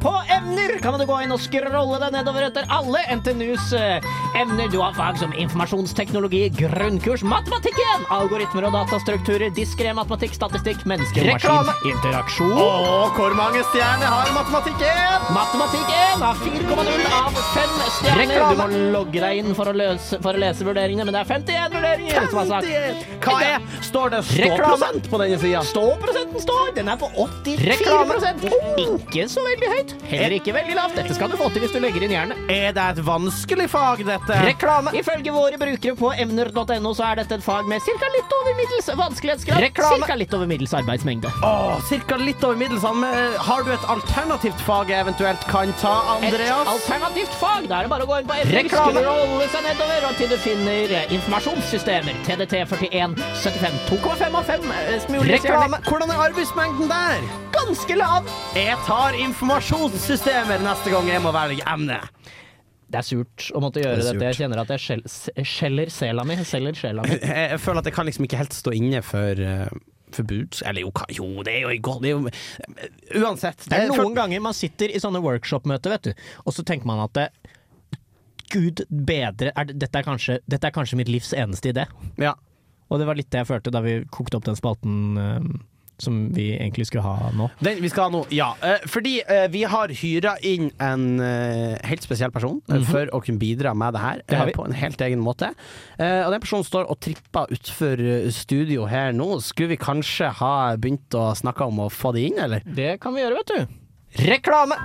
På emner kan du gå inn og scrolle deg nedover etter alle NTNUs eh, emner. Du har fag som informasjonsteknologi, grunnkurs, matematikk igjen, algoritmer og datastrukturer, diskré matematikk, statistikk, mennesker,
Reklame!
maskin, interaksjon.
Og hvor mange stjerner har matematikken?
Matematikk 1 har 4,0 av 5 stjerner.
Reklame!
Du må logge deg inn for å, løse, for å lese vurderingene, men det er 51 vurderinger som er sagt.
Hva er Står det
Reklame.
ståprosent på denne sida?
Ståprosenten står! Den er på 84 Ikke så veldig høyt. Heller ikke veldig lavt. Dette skal du få til hvis du legger inn jernet.
Er det et vanskelig fag, dette?
Reklame! Eh, Ifølge våre brukere på emner.no så er dette et fag med ca. litt over middels vanskelighetsgrad.
Reklame!
Cirka litt over middels arbeidsmengde.
Åh, cirka litt over middels. an- men, eh, Har du et alternativt fag jeg eventuelt kan ta,
Et
Andreas?
alternativt fag. Da er det bare å gå inn på emner,
Reklame!
scrolle seg nedover, og til du finner eh, informasjonssystemer. TDT41 75 2,5 av eh, 5 mulige stjerner.
Reklame. Hvordan er arbeidsmengden der?
Ganske lav.
Jeg tar informasjonssystemer neste gang jeg må velge emne.
Det er surt å måtte gjøre
Det er
dette. Jeg kjenner at jeg skjel- s- skjeller sjela mi. Selger sjela mi.
Jeg, jeg føler at jeg kan liksom ikke helt stå inne for eh, for buds. Eller jo, hva- jo, det er jo godt det er jo, Uansett.
Det er
jeg
noen
føl-
ganger man sitter i sånne workshop-møter, vet du, og så tenker man at det, Gud bedre er, det- dette, er kanskje, dette er kanskje mitt livs eneste idé.
ja.
Og det var litt det jeg følte da vi kokte opp den spalten eh, som vi egentlig skulle ha nå.
Den vi skal ha nå, ja. Eh, Fordi eh, vi har hyra inn en eh, helt spesiell person eh, for å kunne bidra med det her
Mhm. Det har
eh,
vi.
på en helt egen måte. Eh, Og den personen står og tripper utfor eh, studio her nå. Skulle vi kanskje ha begynt å snakke om å få det inn, eller?
Det kan vi gjøre, vet du. Reklame!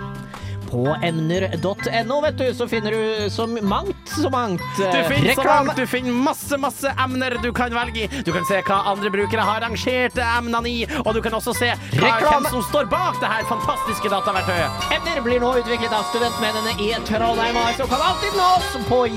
På emner.no, vet du, så finner du så mangt, så mangt. eh,
Du finner så
reklame.
langt, du finner masse, masse emner du kan velge i. Du kan se hva andre brukere har rangert emnene i, og du kan også se hva,
Reklame.
hvem som står bak det her fantastiske dataverktøyet.
Emner blir nå utviklet av studentmennene i Trondheim AS og kan alltid nå oss på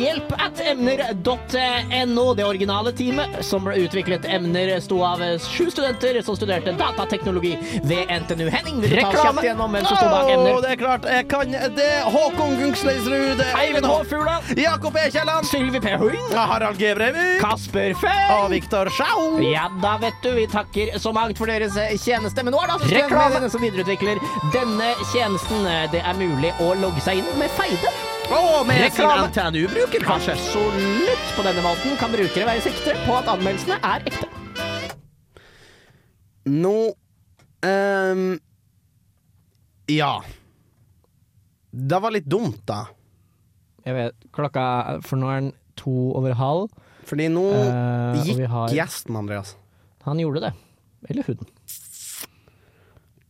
hjelpatemner.no. Det originale teamet som ble utviklet emner, sto av sju studenter som studerte datateknologi ved NTNU. Henning, vil du ta oss kjapt gjennom hvem som sto bak
Åh,
emner?
det er klart jeg kan det. Håkon Gungsleisrud.
Eivind H. Fugla.
Jakob E. Kielland.
Sylvi P. Hund.
Harald G. Breivik.
Kasper
Og
Fenn.
Viktor Schau.
Ja da, vet du. Vi takker så mangt for deres tjeneste. Men nå er det altså
Reklame.
studentmennene som videreutvikler denne tjenesten. Eh, Det er mulig å logge seg inn med feide.
Og med
Reklame.
sin NTNU-bruker, kanskje.
Absolutt. På denne måten kan brukere være sikre på at anmeldelsene er ekte.
Nå ehm, Ja. Det var litt dumt, da.
Jeg vet, klokka For nå er den to over halv.
Fordi nå
Eh, og
gikk
vi har-
gjesten, Andreas.
Han gjorde det. Eller hun.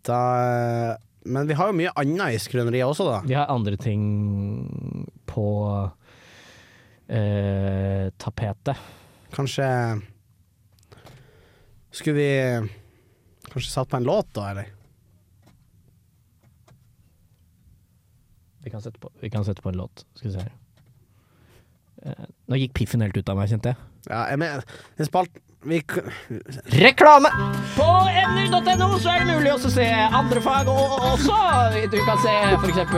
Da, men vi har jo mye annet i skrøneriet også, da.
Vi har andre ting på eh, tapetet.
Kanskje Skulle vi Kanskje satt på en låt da, eller?
Vi kan sette på, vi kan sette på en låt. Skal vi se her. Eh, Nå gikk piffen helt ut av meg, kjente jeg.
Ja, jeg mener En spalt vi, k-
Reklame! På emner.no så er det mulig også å se andre fag og, og også. Du kan se f.eks. Eh,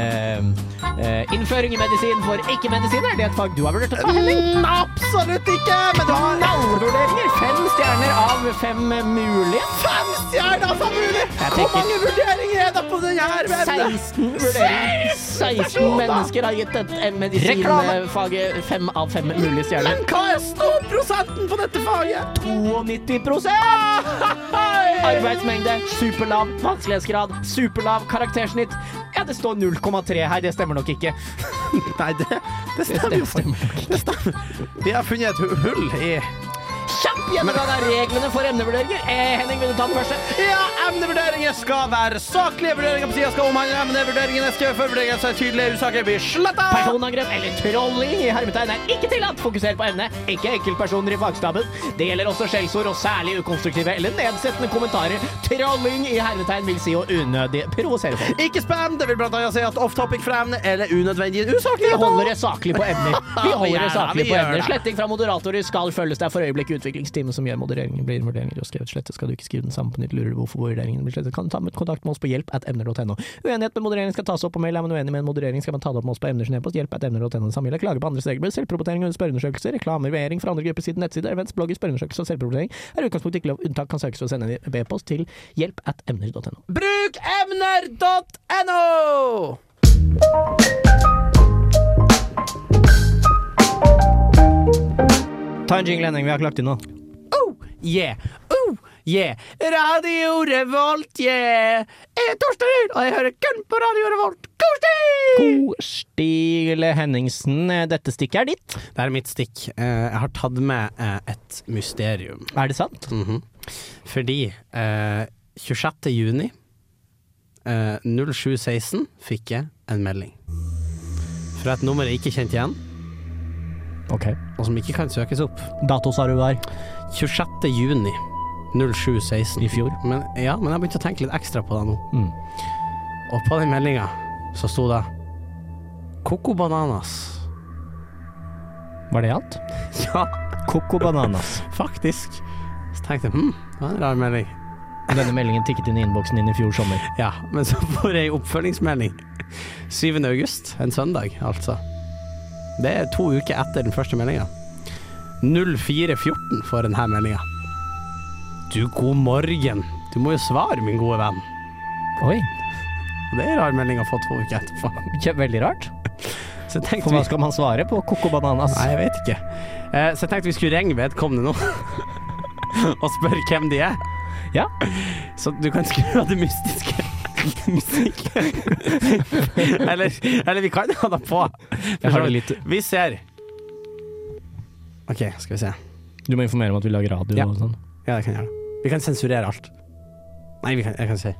eh, innføring i medisin for ikke-medisiner. Det er et fag du har vurdert å ta, Henning.
Mm. Absolutt ikke! Men du har
Knallvurderinger! Fem stjerner av fem mulige.
fem stjerner som mulig! Hvor
tenker-
mange vurderinger er det på den her? vennen?
16 vurderinger. 16 mennesker har gitt et eh, medisinfaget fem av fem mulige stjerner.
Men hva er ståprosenten på dette faget?
92 Arbeidsmengde, superlav vanskelighetsgrad, superlav karaktersnitt. Ja, det står 0,3 her, det stemmer nok ikke.
Nei, det, det stemmer jo for. Det stemmer. Vi har funnet et hu- hull i
Kjapp gjennomgang av reglene for emnevurderinger. Eh, Henning, vil du ta den første?
Ja, emnevurderinger skal være saklige. Vurderinger på sida skal omhandle emnevurderingene. Skrevet før vurderinger som er tydelige usaker, blir sletta.
Personangrep eller trolling i hermetegn er ikke tillatt. Fokuser på emnet, ikke enkeltpersoner i fagstaben. Det gjelder også skjellsord og særlig ukonstruktive eller nedsettende kommentarer. Trolling i hermetegn vil si å unødig provosere folk.
Ikke spam. Det vil blant annet si at off topic fra emnet eller unødvendige
Vi
usakligheter.
holder det saklig på emner. Vi holder det
Ja, vi
saklig på
gjør
emner.
det.
Sletting fra moderatorer skal følges. Det er for øyeblikket utviklingstid. teamet som gjør modereringen, blir vurderingen du har skrevet slettet. Skal du ikke skrive den samme på nytt, lurer du hvorfor vurderingen blir slettet, kan du ta med kontakt med oss på hjelp at emner.no. Uenighet med moderering skal tas opp på mail, er man uenig med en moderering, skal man ta det opp med oss på emner sin e-post, hjelp at emner.no. Det samme gjelder klage på andres regelbrudd, selvprobotering under spørreundersøkelser, reklamer, veiering fra andre grupper siden nettsider, events, blogger, spørreundersøkelser og selvprobotering. Er i utgangspunktet ikke lov, unntak kan søkes ved å sende en e-post til hjelp at emner.no.
Bruk emner.no!
Ta en jingle, Henning, vi har ikke lagt inn noe.
Oh, yeah. Oh, yeah. Radio Revolt, yeah. Jeg er Torstein, og jeg hører kun på Radio Revolt. Torstein!
God stil, Henningsen. Dette stikket er ditt.
Det er mitt stikk. Eh, Jeg har tatt med eh, et mysterium.
Er det sant?
Mhm. Fordi eh, 26. juni eh, 07.16 fikk jeg en melding. Fra et nummer jeg ikke kjente igjen,
Ok.
og som ikke kan søkes opp.
Dato sa du var?
26. juni 07.16 I fjor. Men, ja, men jeg begynte å tenke litt ekstra på det nå.
Mm.
Og på den meldinga så sto det Coco Bananas.
Var det alt?
Ja,
Coco Bananas.
faktisk. Så tenkte jeg hm, det var en rar melding.
Denne meldingen tikket inn i innboksen din i fjor sommer.
Ja, men så får jeg oppfølgingsmelding 7. august, en søndag altså. Det er to uker etter den første meldinga. 04.14 får denne meldinga. Du, god morgen. Du må jo svare, min gode venn.
Oi,
Og Det er en rar melding å få to uker etterpå.
kje- veldig rart.
Så jeg tenkte
For hva
vi
skal man svare på Coco Bananas?
Nei, jeg vet ikke. Eh, Så jeg tenkte vi skulle ringe vedkommende nå og spørre hvem de er.
Ja.
Så du kan skru av det mystiske. musikken. eller, eller vi kan ha det på.
Jeg har det litt
Vi ser. OK, skal vi se.
Du må informere om at vi lager radio
Ja.
og sånn.
Ja, det kan jeg gjøre. Vi kan sensurere alt. Nei, vi kan, jeg kan si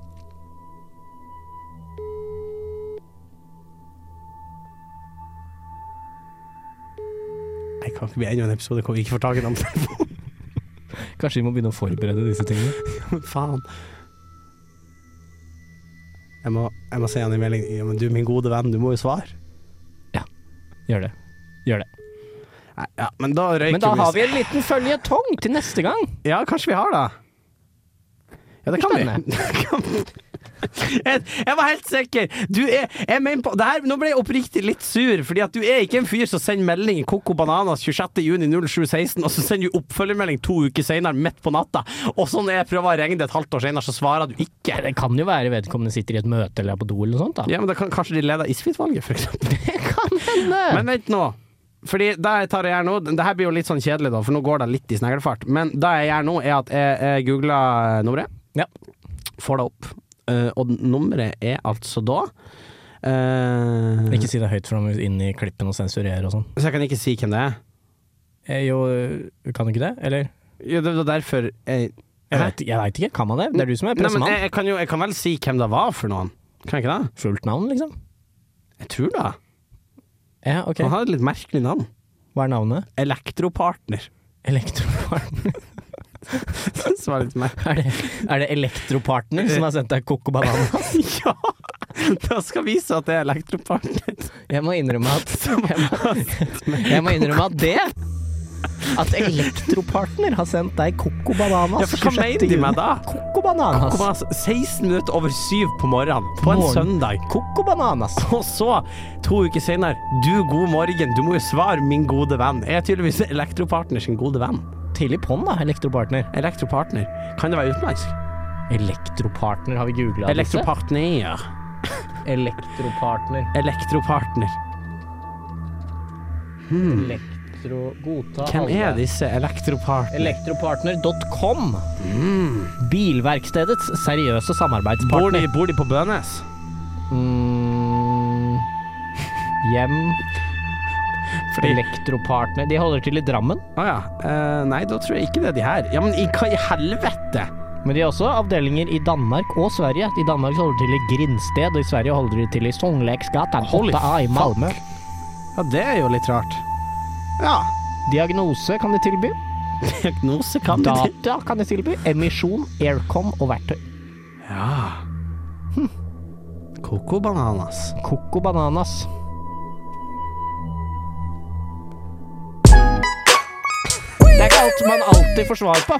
Jeg kan ikke bli enda en episode hvor vi ikke får tak i den telefonen.
Kanskje vi må begynne å forberede disse tingene?
Faen. Jeg må, jeg må si han i melding ja, men du, min gode venn, du må jo svare.
Gjør det. Gjør det.
Nei, ja, men da røyker
Men da har vi
vi
en liten føljetong til neste gang.
Ja, kanskje vi har det. Ja, det kan vi. jeg, jeg var helt sikker. Du er jeg mener på, det her, Nå ble jeg oppriktig litt sur, Fordi at du er ikke en fyr som sender melding i Coco Bananas 26.6.07.16, og så sender du oppfølgermelding to uker senere, midt på natta. Og så når jeg prøver å ringe det et halvt år senere, så svarer du ikke.
Det kan jo være vedkommende sitter i et møte eller er på do eller noe sånt. da.
Ja, men da kan, Kanskje de leder isfrittvalget, for eksempel.
Det kan hende!
Men vent nå. Fordi det jeg tar og gjør nå Det her blir jo litt sånn kjedelig, da, for nå går det litt i sneglefart. Men det jeg gjør nå, er at jeg, jeg googler nummeret.
Ja.
Får det opp. Eh, og nummeret er altså da eh,
Ikke si det høyt, for da må vi inn i klippen og sensurere og sånn.
Så jeg kan ikke si hvem det er.
Eh, Jo, kan du ikke det? Eller?
Jo, det var derfor jeg
Jeg
Hæ?
vet, jeg vet ikke, kan man det? Det er du som er
Nei, men jeg,
pressemann.
jeg, kan jo, jeg kan vel si hvem det var for noen. Kan jeg ikke det?
Fullt navn, liksom?
Jeg tror det.
Ja, ok.
Han hadde et litt merkelig navn.
Hva er navnet?
Elektropartner.
Elektropartner.
Synes det var litt mer
Er det, er det Elektropartner som har sendt deg Coco Banana?
Ja! Det skal vise at det er elektropartner.
Jeg må innrømme at jeg må, jeg må innrømme at det At Elektropartner har sendt deg Coco Bananas
Ja, for Altså, hva
26.
mener de
juni.
med det?
Coco Bananas.
Kom, altså, 16 minutter over syv på morgenen på en
Morgen.
søndag.
Coco Bananas.
Og så, to uker senere, du god morgen, du må jo svare min gode venn. Jeg er tydeligvis elektropartner sin gode venn.
Tidlig på'n, da, Elektropartner.
Elektropartner. Kan det være utenlandsk?
Elektropartner, har vi googla disse?
Elektropartner.
Elektropartner.
Elektropartner.
Elektro... Godta
Hvem er
alle.
disse elektropartner?
Elektropartner.com. Bilverkstedets seriøse
Mm. Bor de,
samarbeidspartner.
bor de på Bønes?
Mm, hjem
Fordi
Elektropartner De holder til i Drammen,
Å ja. Eh, nei, da tror jeg ikke det er de her. Ja, men i, hva i helvete?
men de har også avdelinger i Danmark og Sverige. I Danmark så holder de til i Grindsted, og i Sverige holder de til i Sognleksgatan
Holy
8A i Malmö.
Ja, det er jo litt rart. Ja.
Diagnose kan de tilby.
Diagnose kan de til.
Data kan de tilby. Emisjon, aircon og verktøy.
Ja. Coco Bananas.
Coco Bananas. Det er ikke alt alt man alltid får svar på.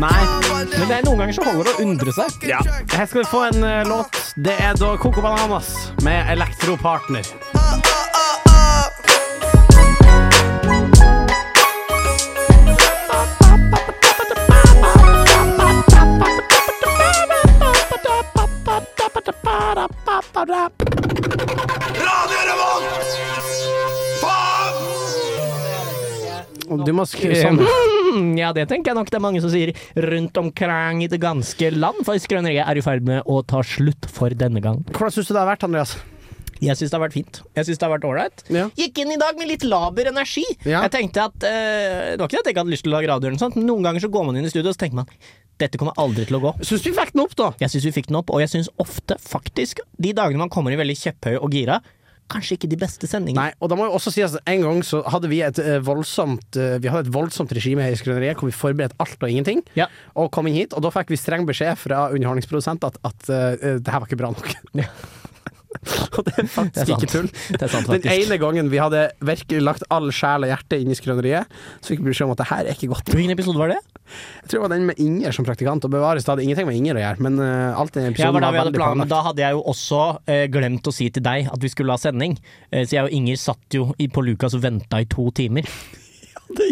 Nei.
Men det er noen ganger så holder det å undre seg.
Ja. Her skal vi få en eh, låt. Det er da Coco Bananas med Elektropartner. Du må skru sånn.
Mm, Ja, det tenker jeg nok det er mange som sier rundt omkring i det ganske land, for Skrøneriet er i ferd med å ta slutt for denne gang.
Hvordan syns du det har vært, Andreas?
Jeg syns det har vært fint. Jeg syns det har vært ålreit.
Ja.
Gikk inn i dag med litt laber energi.
Ja.
Jeg tenkte at eh, Det var ikke det at jeg ikke hadde lyst til å lage radio, eller noe sånt, men noen ganger så går man inn i studio og så tenker man dette kommer aldri til å gå.
Syns vi fikk den opp, da?
Jeg syns vi fikk den opp, og jeg syns ofte, faktisk, de dagene man kommer i veldig kjepphøy og gira, kanskje ikke de beste sendingene.
Nei, og da må jo også sies at en gang så hadde vi et eh, voldsomt eh, Vi hadde et voldsomt regime her i Skrøneriet hvor vi forberedte alt og ingenting,
Ja.
og kom inn hit, og da fikk vi streng beskjed fra underholdningsprodusent at, at eh, det her var ikke bra nok. og det
Det
er
er
faktisk
sant.
ikke tull.
Det er sant,
Den
faktisk.
ene gangen vi hadde virkelig lagt all sjel og hjerte inn i Skrøneriet, så fikk vi beskjed om at det her er ikke godt.
Hvilken episode var det?
Jeg tror det var den med Inger som praktikant, og bevares, det hadde ingenting med Inger å gjøre, men eh, alt i den
Ja,
episoden
var da, vi
var
hadde
veldig
planen, men
planlagt.
da hadde jeg jo også eh, glemt å si til deg at vi skulle ha sending. Eh, så jeg og Inger satt jo i, på Lukas og venta i to timer.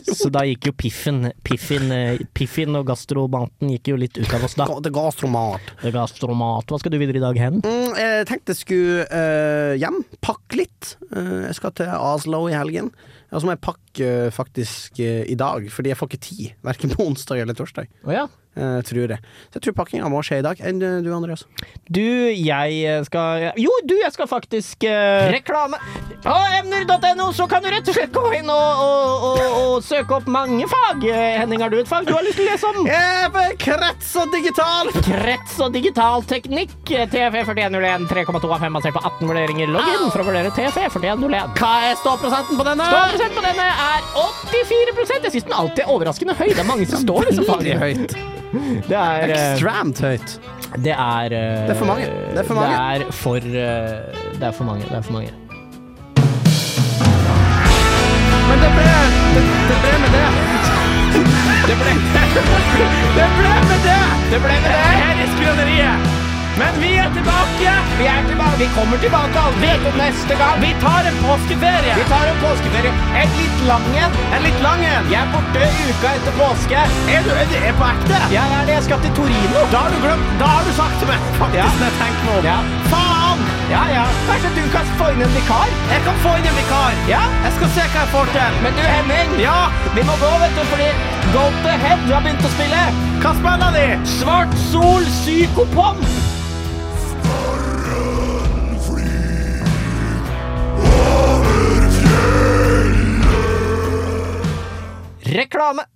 Så da gikk jo piffen Piffen, eh, piffen og gastromaten gikk jo litt ut av oss da.
Det ga så mat.
Gastromat, hva skal du videre i dag hen?
Mm, jeg tenkte jeg skulle eh, hjem, pakke litt. Eh, jeg skal til Oslo i helgen. Og så må jeg pakke eh, faktisk eh, i dag, fordi jeg får ikke tid. Verken på onsdag eller torsdag,
Å ja.
eh, tror jeg. Så jeg tror pakkinga må skje i dag. Enn eh, du, Andreas?
Du, jeg eh, skal Jo, du, jeg skal faktisk eh, Reklame! På emner.no så kan du rett og slett gå inn og, og, og, og søke opp mange fag. Eh, Henning, har du et fag du har lyst til å lese om?
Even Krets og digital!
Krets og digital teknikk. eh, TFE 4101 3,2 av 5 basert på 18 vurderinger. Logg inn for å vurdere E TFE 4101.
Hva er ståprosenten på denne?
Ståprosent på denne er 84 Jeg syns den alltid er overraskende høy. Det er mange som står i disse
Veldig
fagene.
høyt.
Det er eh,
Ekstremt høyt.
Det er eh,
Det er for mange. Det er for mange.
Det er for, eh, det er for mange. Det er for mange.
Men det ble Det, det ble med det. Det ble Det ble med det! Det ble med det her i Skrøneriet. Men vi er tilbake.
Vi er tilbake. Vi kommer tilbake aldri til neste gang. Vi
tar en påskeferie.
Vi tar en påskeferie. En litt lang en.
En litt lang en.
Jeg er borte uka etter påske.
Er du er du- er på ekte?
Jeg er det. Jeg skal til Torino.
Da har du glemt Da har du sagt til meg, faktisk,
Ja.
når jeg tenker meg om.
Ja.
Faen!
Ja, ja. Kanskje du kan få inn en vikar?
Jeg kan få inn en vikar.
Ja.
Jeg skal se hva jeg får til.
Men du, Henning,
Ja.
vi må gå, vet du, fordi Goat the Head har begynt å spille.
Hva spiller de?
Svart Sol Psykopomp. Reklame.